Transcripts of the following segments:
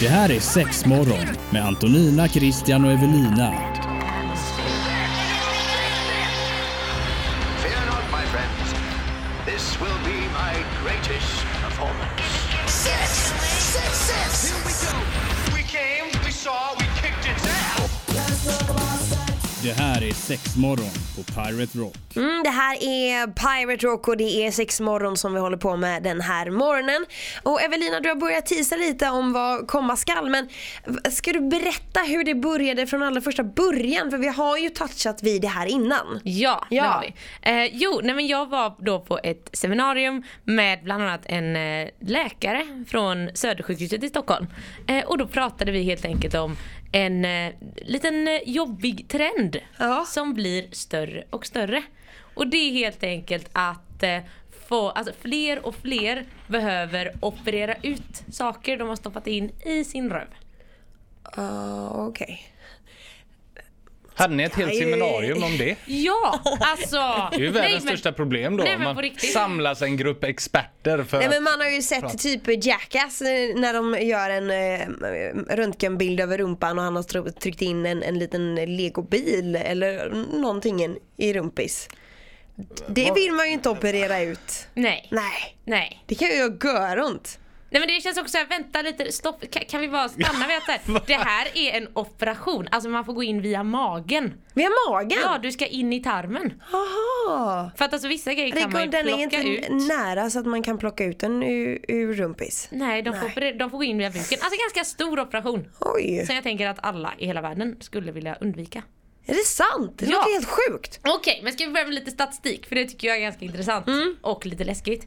Det här är Sexmorgon med Antonina, Christian och Evelina. Fear not, my friends. This will be my greatest performance. Six! Six, six! Here we go! We came, we saw, we kicked its ass. Det här är Sexmorgon på Pirate Rock. Mm, det här är Pirate Rock och det är sex morgon som vi håller på med den här morgonen. Och Evelina, du har börjat tisa lite om vad komma skall men v- ska du berätta hur det började från allra första början? För vi har ju touchat vid det här innan. Ja, Ja. det har vi. Eh, jo, nej men jag var då på ett seminarium med bland annat en eh, läkare från Södersjukhuset i Stockholm. Eh, och då pratade vi helt enkelt om en eh, liten eh, jobbig trend Ja. som blir större och större. Och det är helt enkelt att eh, få, alltså fler och fler behöver operera ut saker de har stoppat in i sin röv. Ja, okej. Hade ni ett helt seminarium om det? Ja, alltså! Det är ju nej, världens men- största problem då. Nej, men på man riktigt. samlas en grupp experter för Nej att... men man har ju sett typ Jackass eh, när de gör en eh, röntgenbild över rumpan och han har tro- tryckt in en, en liten legobil eller någonting i rumpis. Det vill man ju inte operera ut. Nej. Nej. Nej. Det kan ju göra göront. Nej men det känns också såhär, vänta lite, stopp, kan, kan vi bara stanna vid att så här, det här är en operation, alltså man får gå in via magen. Vi har magen. Ja, du ska in i tarmen. Jaha. För att alltså vissa grejer Det kan går, man ju den är plocka inte ut. nära så att man kan plocka ut den ur, ur rumpis. Nej, de får, Nej. operera- de får gå in via buken. Alltså ganska stor operation. Oj. Som jag tänker att alla i hela världen skulle vilja undvika. Är det sant? Det Ja. låter helt sjukt. Okej, men ska vi börja med lite statistik? För det tycker jag är ganska intressant och lite läskigt.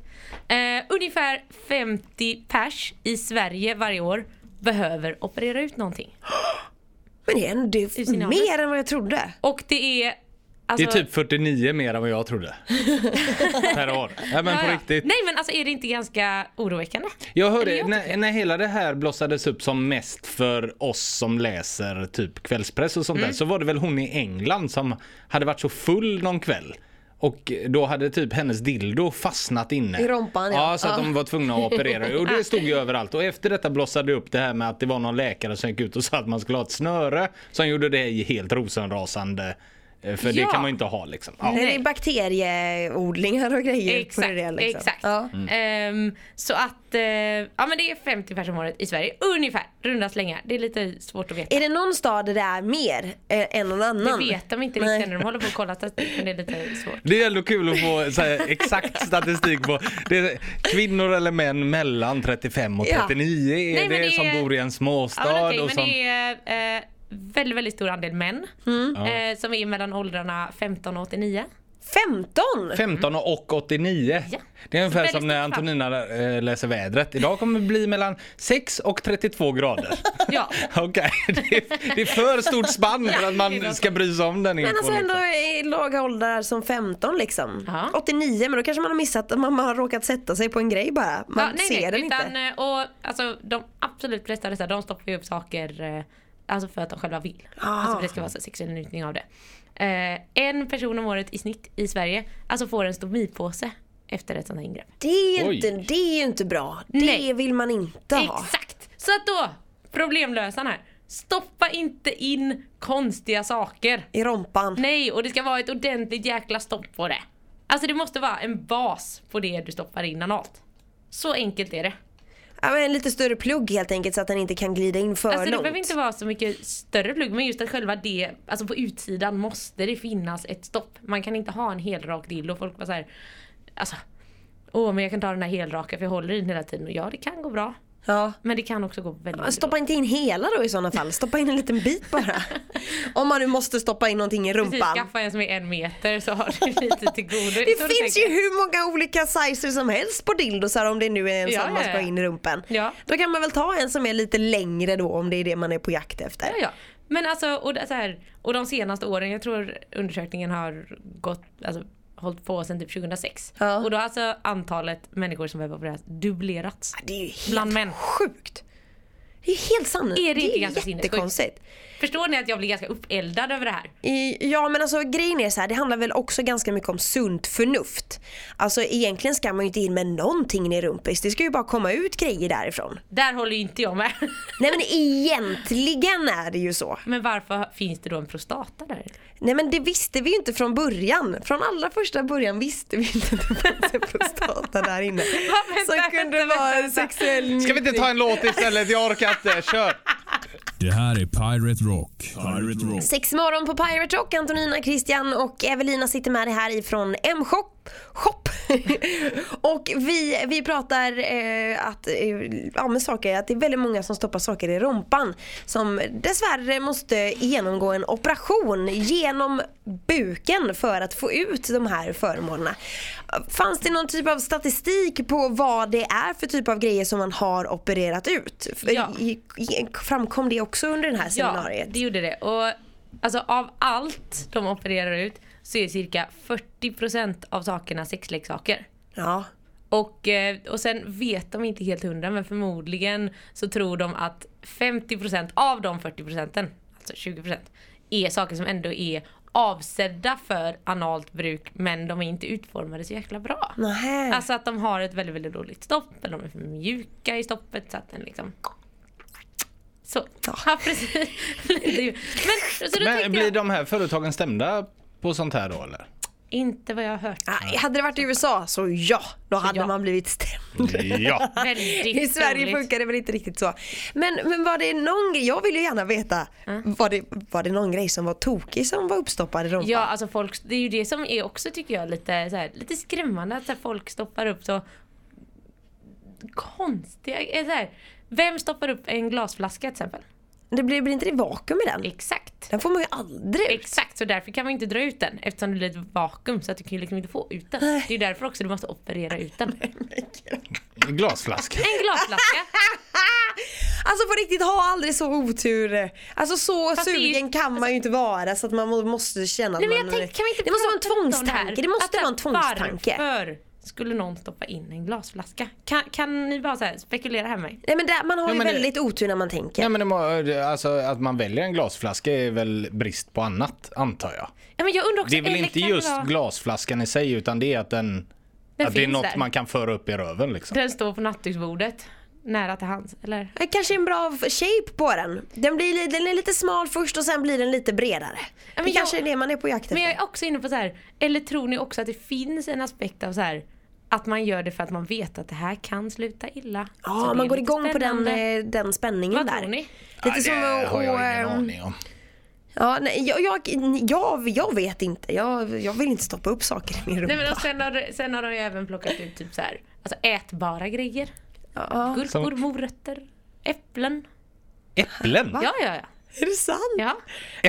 Eh, ungefär 50 pers i Sverige varje år behöver operera ut någonting. Men det är ändå det Ur sin är mer än vad jag trodde. Och det är... Det Alltså, är typ 49 mer än vad jag trodde. per år. Nej men Ja, på ja. riktigt. Nej men alltså är det inte ganska oroväckande? Jag Eller hörde, jag när, när hela det här blossades upp som mest för oss som läser typ kvällspress och sånt där, så var det väl hon i England som hade varit så full någon kväll. Och då hade typ hennes dildo fastnat inne. I rompan, ja. ja. så att de var tvungna att operera. Och det stod ju överallt. Och efter detta blossade det upp det här med att det var någon läkare som gick ut och sa att man skulle ha ett snöre. Som gjorde det helt rosenrasande. Eh, För Ja. det kan man ju inte ha liksom. Ja. Det är bakterieodlingar och grejer Exakt. på det där, liksom. exakt. Ja. Mm. Ehm, så att, eh, ja men det är 50 personer om året i Sverige, ungefär. Runda slängar. Det är lite svårt att veta. Är det någon stad där det är mer eh, än någon Det annan? vet de inte Nej. riktigt när de håller på och kollar statistik, men det är lite svårt. Det är ändå kul att få så här, exakt statistik på det är, kvinnor eller män mellan 35 och Ja. 39 är Nej, men det, det är- som bor i en Ja, småstad men okej, och men som... det är eh, väldigt, väldigt stor andel män Mm. eh, som är mellan åldrarna 15 och 89. 15? 15 och 89. Ja. Det är ungefär väldigt som när stort fall. Antonina eh, läser vädret. Idag kommer det bli mellan 6 och 32 grader. Ja. Okej, det, är- det är för stort spann för att det är man något ska bry sig om den. Men infon, alltså liksom. ändå i låga åldrar som 15 liksom. Ja. 89 men då kanske man har missat att man har råkat sätta sig på en grej bara. Man Ja, nej, ser nej, den utan, inte. eh, Och, alltså, de absolut flesta av dessa, de stoppar ju upp saker eh, alltså för att de själva vill. Ah. Alltså för det ska vara så sexuell njutning av det. Eh, en person om året i snitt i Sverige alltså får en stomipåse efter ett sånt här ingrepp. Det är, ju Oj. inte, det är ju inte bra. Det Nej. vill man inte ha. Exakt! Så att då, problemlösaren här. Stoppa inte in konstiga saker. I rompan. Nej, och det ska vara ett ordentligt jäkla stopp på det. Alltså det måste vara en bas på det du stoppar in analt. Så enkelt är det. Ja, men en lite större plugg helt enkelt så att den inte kan glida in för Alltså det långt. behöver inte vara så mycket större plugg men just att själva det, alltså på utsidan måste det finnas ett stopp. Man kan inte ha en helrak dildo och folk bara såhär, alltså, åh men jag kan ta den här helraka för jag håller i den hela tiden och ja det kan gå bra. Ja. Men det kan också gå väldigt Ja, väldigt Stoppa inte in hela då i sådana fall. Stoppa in en liten bit bara. Om man nu måste stoppa in någonting i dåligt. Precis, rumpan. skaffa en som är en meter så har du lite till godo. är så Det du finns ju tänker. hur många olika sizes som helst på dildosar om det nu är en Ja, som ja, man ska ja. in i rumpen. Ja. Då kan man väl ta en som är lite längre då om det är det man är på jakt efter. Ja, ja. Men alltså, och, det- så här, och de senaste åren, jag tror undersökningen har gått, alltså, hållit på sedan typ 2006. Ja. Och då har alltså antalet människor som behöver opereras dubblerats. Det är ju helt Bland män. sjukt. Det är ju helt sant. Är det inte är ganska sinnessjukt? jättekonstigt. Förstår ni att jag blir ganska uppeldad över det här? I- Ja men alltså grejen är så här, det handlar väl också ganska mycket om sunt förnuft. Alltså egentligen ska man ju inte in med någonting i rumpis. Det ska ju bara komma ut grejer därifrån. Där håller ju inte jag med. Nej men egentligen är det ju så. Men varför finns det då en prostata där? Nej men det visste vi ju inte från början. Från allra första början visste vi inte att det fanns en prostata där inne. vänta, som kunde vänta, vara en vänta. sexuell liksom. Ska vi inte ta en låt istället? Jag orkar inte. Kör! Det här är Pirate Rock. Pirate Rock. Sex morgon på Pirate Rock. Antonina, Christian och Evelina sitter med dig här ifrån M-shop. Shop. och vi, vi pratar eh, att, eh, ja, med saker, att det är väldigt många som stoppar saker i rumpan som dessvärre måste genomgå en operation genom buken för att få ut de här föremålen. Fanns det någon typ av statistik på vad det är för typ av grejer som man har opererat ut? Ja. I- i- Framkom det också under den här seminariet? Ja, det gjorde det. Och, alltså, av allt de opererar ut så är cirka 40% av sakerna sexleksaker. Ja. Och, eh, och sen vet de inte helt hundra men förmodligen så tror de att 50% av de 40% alltså 20% är saker som ändå är avsedda för analt bruk men de är inte utformade så jäkla bra. Nähä. Alltså att de har ett väldigt, väldigt dåligt stopp eller de är för mjuka i stoppet så att den liksom så. Ja precis. men, så då Men tänkte blir jag, de här företagen stämda på sånt här då eller? inte vad jag har hört. Ah, hade det varit i USA så ja, då hade ja. man blivit stämd. Ja. Väldigt I Sverige roligt. funkar det väl inte riktigt så. Men, men var det någon grej, jag vill ju gärna veta, var, det, var det någon grej som var tokig som var uppstoppad i rumpan? Ja, alltså folk, det är ju det som är också tycker jag lite, så här, lite skrämmande att så här, folk stoppar upp så konstiga eh, så här, Vem stoppar upp en glasflaska till exempel? Det blir, blir inte det vakuum i den? Exakt. Den får man ju aldrig ut. Exakt, så därför kan man inte dra ut den eftersom det blir ett vakuum så att du kan ju liksom inte få ut den. Det är ju därför också du måste operera ut den. En Glasflaska. glasflaska. Alltså på riktigt, ha aldrig så otur. Alltså så Fast det är ju- sugen kan man ju inte vara så att man må- måste känna att Nej, men jag man... tänkte, kan vi inte det måste vara prata lite en om tvångstanke. Det, här? Att måste så här, vara en tvångstanke. Varför skulle någon stoppa in en glasflaska? Kan, kan ni bara så här spekulera här med mig? Nej, men där, man har ju men det- väldigt otur när man tänker. Ja, men det må, alltså, att man väljer en glasflaska är väl brist på annat antar jag. Ja, men jag undrar också, Det är väl eller inte Alltså, kan just vara- glasflaskan i sig utan det är att den, Den att det är finns något där. man kan föra upp i röven liksom. Den står på nattduksbordet. Nära till hands, eller? Eh, Kanske en bra f- shape på den. Den, blir, li- den är lite smal först och sen blir den lite bredare. men det jag- kanske är det man är på jakt efter. Men jag är också inne på så här, eller tror ni också att det finns en aspekt av så här att man gör det för att man vet att det här kan sluta illa. Så Ja, det är man går lite igång på den, spännande. eh, den spänningen Vad där. tror ni? Lite som det att- har och, jag ingen ehm, aning om. Ja, nej, jag, jag, jag, jag vet inte. Jag, jag vill inte stoppa upp saker i min rumpa. Nej, men och sen, har, sen har de ju även plockat ut typ så här, alltså ätbara grejer. ja. Gurkor, morötter, äpplen. Äpplen? Ja, ja, ja. Är det sant? alltså- ja.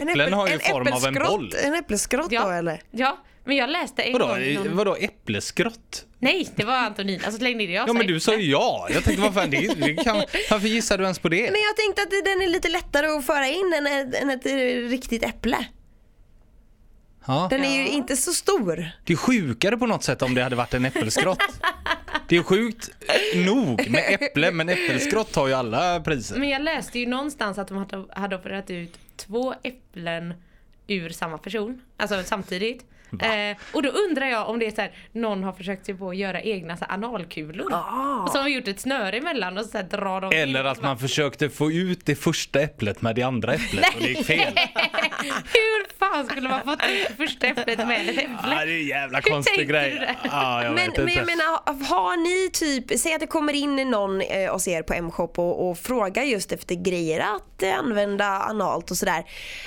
En Äpplen har ju en form av en äppelskrått- boll. En äppelskrått ja. då eller? ja. Men jag läste en Vadå, gång. någon- vadå äppleskrott? Nej, det var Antonin. Alltså släng ner det jag Ja men äpple. du sa ju ja. Jag tänkte vad fan, det, det kan, varför gissar du ens på det? Men jag tänkte att den är lite lättare att föra in än, ett- än ett eh, riktigt äpple. Ja. Den är ju inte så stor. Det är sjukare på något sätt om det hade varit en äppelskrott. Det är sjukt nog med äpple men äppelskrått tar ju alla priser. Men jag läste ju någonstans att de hade, hade opererat ut två äpplen ur samma person. Alltså samtidigt. Eh, och då undrar jag om det är så här, någon har försökt sig på att göra egna så här, analkulor. Ah. Och så har gjort ett snöre emellan och så här, drar de Eller ut. att man försökte få ut det första äpplet med det andra äpplet och det gick fel. Hur fan skulle man fått ut det första äpplet med ett äpple? Ja, det är en jävla Hur konstig tänkte du grej. där? Ja, jag Men, vet men jag inte. menar, har ni typ, säg att det kommer in någon eh, hos er på M-shop och, och frågar just efter grejer att eh, använda analt och sådär.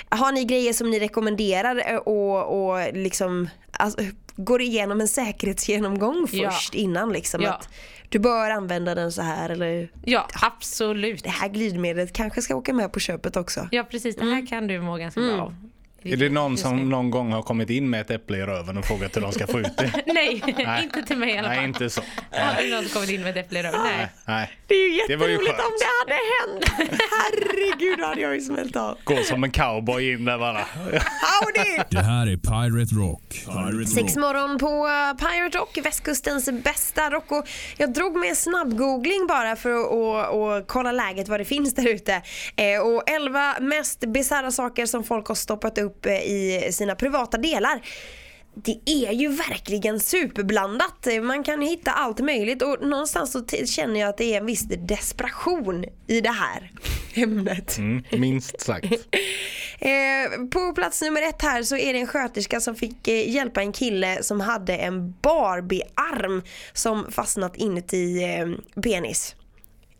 Har ni grejer som ni rekommenderar eh, och, och liksom alltså, går igenom en säkerhetsgenomgång Ja. först innan liksom? Ja. Att du bör använda den så här eller Ja, absolut. det här glidmedlet kanske ska åka med på köpet också. Ja precis, det här kan du må ganska bra av. Är det någon som någon gång har kommit in med ett äpple i röven och frågat hur de ska få ut det? Nej, inte till mig i alla fall. Nej, inte så. Har du någon kommit in med ett äpple i röven? Nej. Nej. Det är ju Det var ju jätteroligt skönt. om det hade hänt. Herregud, då hade jag ju smält av. Gå som en cowboy in där bara. Howdy! Det här är Pirate Rock. Pirate Sex morgon på eh, Pirate Rock, västkustens bästa rock. Och jag drog med en snabbgoogling bara för att och, och kolla läget, vad det finns där ute. Eh, och 11 mest bisarra saker som folk har stoppat upp eh, i sina privata delar. Det är ju verkligen superblandat. Eh, Man kan ju hitta allt möjligt och någonstans så t- känner jag att det är en viss desperation i det här ämnet. Mm, minst sagt. Eh, på plats nummer ett här så är det en sköterska som fick eh, hjälpa en kille som hade en Barbie-arm som fastnat inuti eh, penis.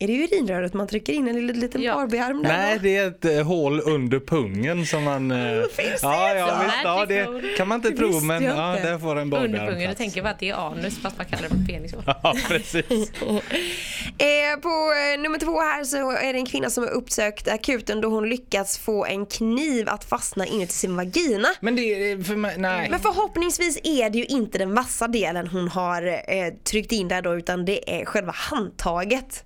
Är det urinröret man trycker in en liten, liten Ja. Barbie-arm där? Nej, det är ett eh, hål under pungen som man... eh, finns det ja, ett ja, sånt? visst, ja, det kan man inte tro, visste men jag ja, inte. där får en Underpungen, bagarm du tänker bara att det är anus fast man kallar det för penis. Ja, precis. Eh, på eh, nummer två här så är det en kvinna som har uppsökt akuten då hon lyckats få en kniv att fastna inuti sin vagina. Men det är för mig, nej. Men förhoppningsvis är det ju inte den vassa delen hon har eh, tryckt in där då utan det är själva handtaget.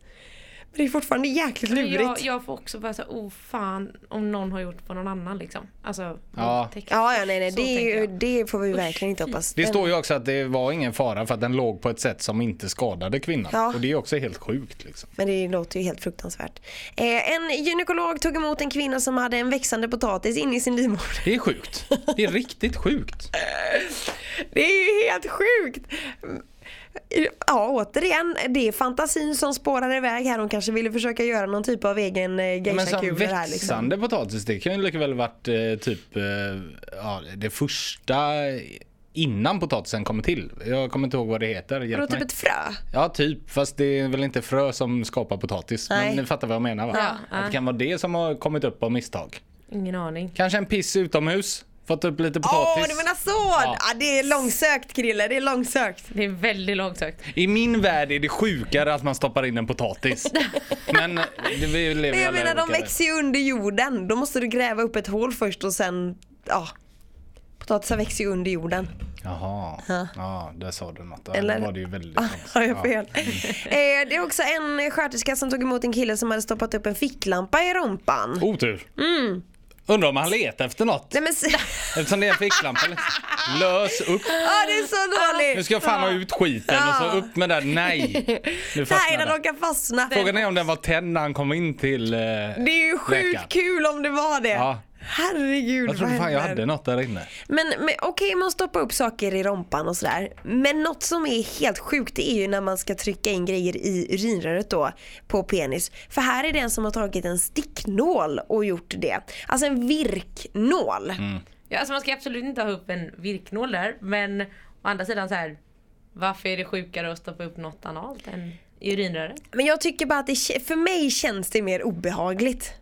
Men det är fortfarande jäkligt Men lurigt. Jag, jag får också bara såhär, oh fan om någon har gjort på någon annan liksom. Alltså, Ja. våldtäkt. Ja, ja nej, nej. Så Det, är tänker ju, jag. det får vi verkligen inte hoppas. Det Den- står ju också att det var ingen fara för att den låg på ett sätt som inte skadade kvinnan. Ja. Och det är också helt sjukt. Liksom. Men det låter ju helt fruktansvärt. Eh, en gynekolog tog emot en kvinna som hade en växande potatis in i sin livmoder. Det är sjukt. Det är riktigt sjukt. Det är ju helt sjukt! Mm, Ja, återigen, det är fantasin som spårar iväg här. Hon kanske ville försöka göra någon typ av egen eh, Men som geisha-kula här liksom. växande potatis, det kan ju lika väl varit eh, typ eh, ja, det första innan potatisen kommer till. Jag kommer inte ihåg vad det heter. Vadå, Hjälp typ mig. ett frö? Ja, typ. Fast det är väl inte frö som skapar potatis. Nej. Men ni fattar vad jag menar va? Ja, Att det kan vara det som har kommit upp av misstag. Ingen aning. Kanske en piss utomhus. Fått upp lite Åh, potatis. du menar så! Ja. Ja. det är långsökt, Krille. Det är långsökt. Det är väldigt långsökt. I min värld är det sjukare att man stoppar in en potatis. Men eh, det, vi lever Men jag alla i menar, de olika växer ju under jorden. Då måste du gräva upp ett hål först och sen, ja. Potatisar växer ju under jorden. världar. Jaha, ja, där sa du något. Eller? Eller? Det var det ju väldigt konstigt. Har jag fel? Mm. Eh, det är också en sköterska som tog emot en kille som hade stoppat upp en ficklampa i rumpan. Ja. Otur. Mm. Undrar om han letar efter något. Nej men s- Eftersom det är en ficklampa. Lös upp. ah, det är så Nu dåligt! ska jag fan ha ut skiten och så upp med den. Nej. Nu Nej, fastnar när de den. kan fastna. Frågan är om den var tänd när han kom in till eh, Det är ju sjukt läkaren. kul om det var det. Ja. Herregud Jag trodde vad fan jag händer? hade något där inne. Men, men okej man stoppar upp saker i rumpan och sådär. Men något som är helt sjukt det är ju när man ska trycka in grejer i urinröret då på penis. För här är det en som har tagit en sticknål och gjort det. Alltså en virknål. Ja, alltså man ska absolut inte ha upp en virknål där men å andra sidan så här. Varför är det sjukare att stoppa upp något analt än i urinröret? Men jag tycker bara att det, kä- för mig känns det mer obehagligt.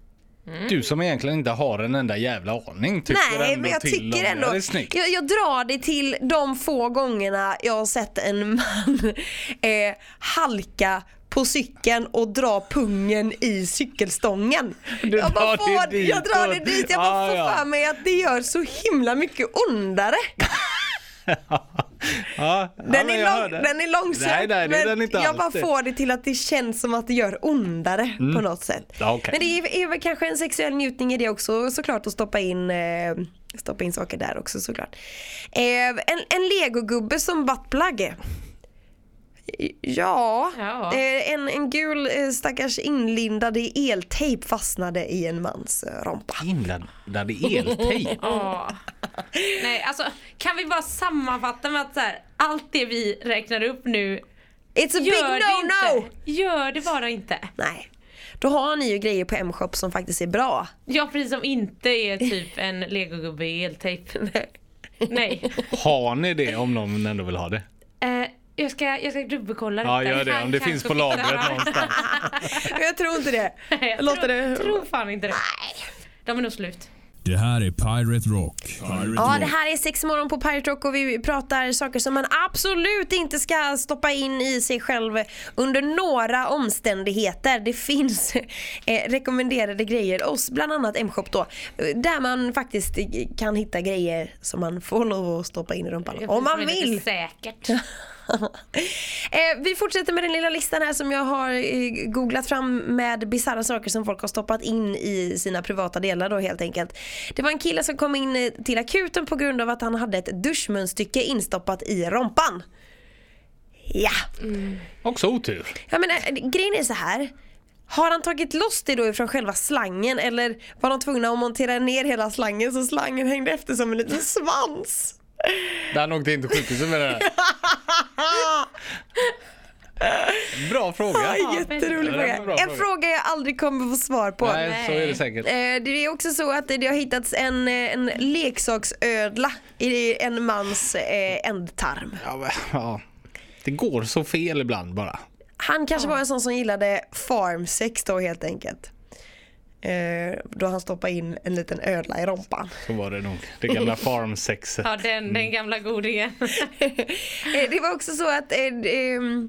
Du som egentligen inte har en enda jävla aning tycker Nej ändå men jag till om tycker det. ändå, Det är snyggt. jag, jag drar det till de få gångerna jag har sett en man eh, halka på cykeln och dra pungen i cykelstången. Du jag, bara drar det får, dit jag drar och- det dit, jag bara Ah, får ja. för mig att det gör så himla mycket ondare. Ja, ja, Den, men är, jag hör lång, det. den är långsökt Nej, nej, det är men den inte jag bara alltid. Mm. får det till att det känns som att det gör ondare på något sätt. Ja, okej. Men det är, är väl kanske en sexuell njutning i det också såklart att stoppa in, eh, stoppa in saker där också såklart. Eh, en, en legogubbe som buttplug. Ja, Ja. Eh, en, en gul eh, stackars inlindad i eltejp fastnade i en mans eh, rompa. Inblandade eltejp. Ja. Mm. Nej alltså kan vi bara sammanfatta med att så här, allt det vi räknar upp nu It's a big Gör det no-no! inte! Gör det bara inte! Nej, då har ni ju grejer på M-shop som faktiskt är bra. Ja precis som inte är typ en legogubbe i eltejp. Nej. Har ni det om någon ändå vill ha det? Eh, jag, ska, jag ska dubbelkolla Ja, detta. gör det. Han Om det kanske finns på lagret fixar det. någonstans. Jag tror inte det. Nej, Jag Låter tror, det... Ah! tror fan inte det. De är nog slut. Det här är Pirate Rock. Ja, det här är sex morgon på Pirate Rock och vi pratar saker som man absolut inte ska stoppa in i sig själv under några omständigheter. Det finns eh, rekommenderade grejer, oss bland annat M-shop då, eh, där man faktiskt eh, kan hitta grejer som man får lov att stoppa in i rumpan om man vill. Säkert. eh, vi fortsätter med den lilla listan här som jag har eh, googlat fram med bisarra saker som folk har stoppat in i sina privata delar då helt enkelt. Det var en kille som kom in eh, till akuten på grund av att han hade ett duschmunstycke instoppat i rompan. Ja, Också otur. jag menar eh, grejen är så här. Har han tagit loss det då ifrån själva slangen eller var de tvungna att montera ner hela slangen så slangen hängde efter som en liten svans? Där han åkte in till sjukhuset med det där. Bra fråga. Ja, jätterolig det var fråga. en bra En fråga. fråga jag aldrig kommer få svar på. Nej, så är det säkert. Eh, Det är också så att det har hittats en, eh, en leksaksödla i en mans eh, ändtarm. Ja, men, ja. Det går så fel ibland bara. Han kanske var en sån som gillade farmsex då helt enkelt. Eh, Då han stoppade in en liten ödla i rompan. Så var det nog. Det gamla farmsexet. Ja, den, Mm. den gamla godingen. Eh, Det var också så att eh, ehm,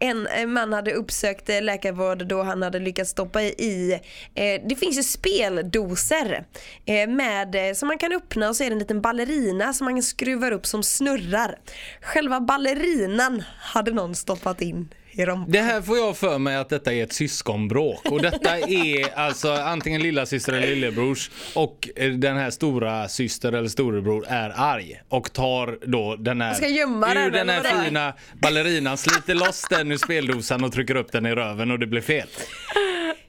en eh, man hade uppsökt eh, läkarvård då han hade lyckats stoppa i, eh, det finns ju speldoser eh, med, eh, som man kan öppna och så är det en liten ballerina som man skruvar upp som snurrar. Själva ballerinan hade någon stoppat in i rompan. Det här får jag för mig att detta är ett syskonbråk och detta är alltså antingen lilla syster eller lillebrors och eh, den här stora syster eller storebror är arg och tar då den här Ska gömma den, ur den eller vadå? här fina ballerinan, sliter loss den ur speldosan och trycker upp den i röven och det blir fel.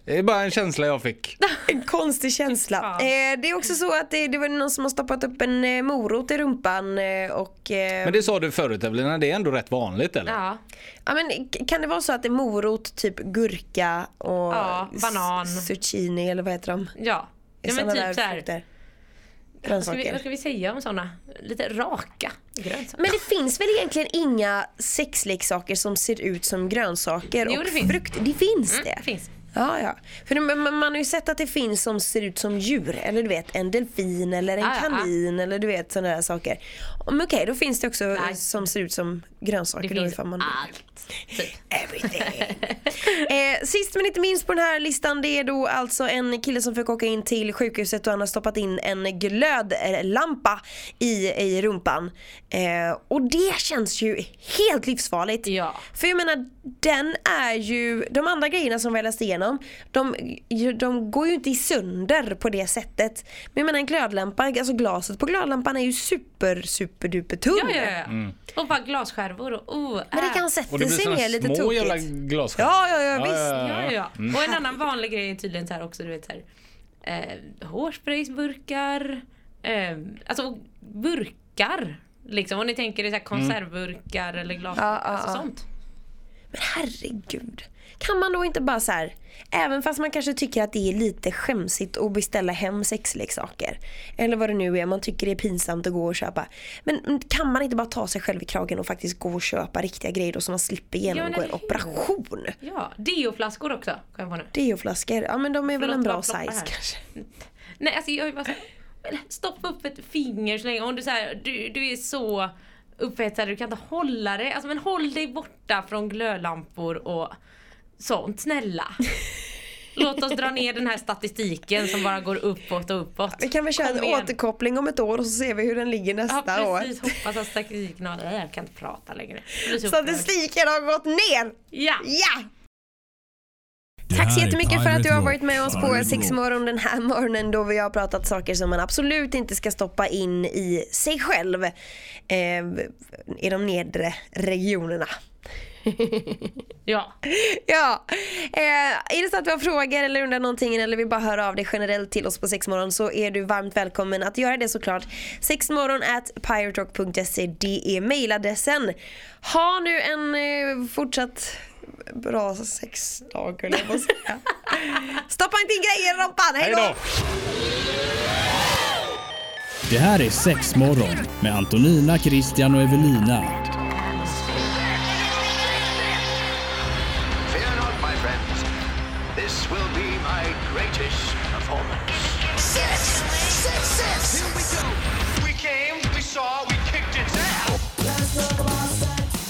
Det är bara en känsla jag fick. En konstig känsla. Eh, det är också så att det, det var någon som har stoppat upp en eh, morot i rumpan eh, och eh, Men det sa du förut Evelina, det är ändå rätt vanligt eller? Ja. Ja, men k- kan det vara så att det är morot, typ gurka och Ja, s- banan. zucchini eller vad heter de? Ja. ja Såna men där typ såhär. frukter. Vad ska, vi, vad Grönsaker. ska vi säga om såna? Lite raka grönsaker. Men det finns väl egentligen inga sexleksaker som ser ut som grönsaker Jo, och det finns. frukt? Det finns Mm, det? det finns. Ja, ja. För det- men man, man har ju sett att det finns som ser ut som djur. Eller du vet, en delfin eller en Ja, ja, ja. kanin eller du vet sådana där saker. Men okej, då finns det också Nej. som ser ut som grönsaker. det då, finns ifall man... allt. Typ. Everything. eh, sist men inte minst på den här listan det är då alltså en kille som fick åka in till sjukhuset och han har stoppat in en glödlampa i, i rumpan. Eh, och det känns ju helt livsfarligt. Ja. För jag menar den är ju, de andra grejerna som vi har läst igenom de, ju- de går ju inte i sönder på det sättet. Men jag menar en glödlampa, alltså glaset på glödlampan är ju super super duper tunn. Ja, ja, ja. Mm. Och bara glasskärvor och oh, Men det äh. kan sätta Och det blir sig ner lite sådana tokigt. små jävla glasskivor. Ja, ja, ja, visst. Ja, ja. Mm. Och en annan vanlig grej är tydligen så här också, du vet så här, eh, hårspraysburkar, eh, alltså burkar. Liksom om ni tänker er så här konservburkar eller glas Ja, ja, alltså ja. sånt. Men herregud. Kan man då inte bara så här, även fast man kanske tycker att det är lite skämsigt att beställa hem sexleksaker. Eller vad det nu är, man tycker det är pinsamt att gå och köpa. Men mm, kan man inte bara ta sig själv i kragen och faktiskt gå och köpa riktiga grejer då så man slipper genomgå eller en hur? operation? Ja, deoflaskor också kom jag på nu. Deoflaskor, ja men de är väl Förlåt, en bra bara ploppa size här. kanske. Nej alltså jag är bara så här, men stoppa upp ett finger så länge. Om du, så här, du, du är så upphetsad du kan inte hålla dig. Alltså men håll dig borta från glödlampor och sånt, snälla. Låt oss dra ner den här statistiken som bara går uppåt och uppåt. Vi kan väl köra Kom en igen. återkoppling om ett år och så ser vi hur den ligger Ja nästa år. precis, hoppas att statistiken har... Nej, Jag kan inte prata längre. Jag blir så upprörd. Statistiken har gått ner! Ja! Ja! Det Tack så här är jättemycket för att du Pirate har Rock. varit med oss på Pirate Sex Rock. morgon den här morgonen då vi har pratat saker som man absolut inte ska stoppa in i sig själv eh, i de nedre regionerna. Ja. Ja, eh, är det så att du har frågor eller undrar någonting eller vill bara höra av dig generellt till oss på Sexmorgon så är du varmt välkommen att göra det såklart. Sexmorgon at piraterock.se, det är mailadressen. Ha nu en eh, fortsatt bra sexdag höll jag på att säga. Stoppa inte in grejer i rumpan, hej då! Det här är sex morgon med Antonina, Christian och Evelina. Fear not, my friends. This will be my greatest performance. Six. Six.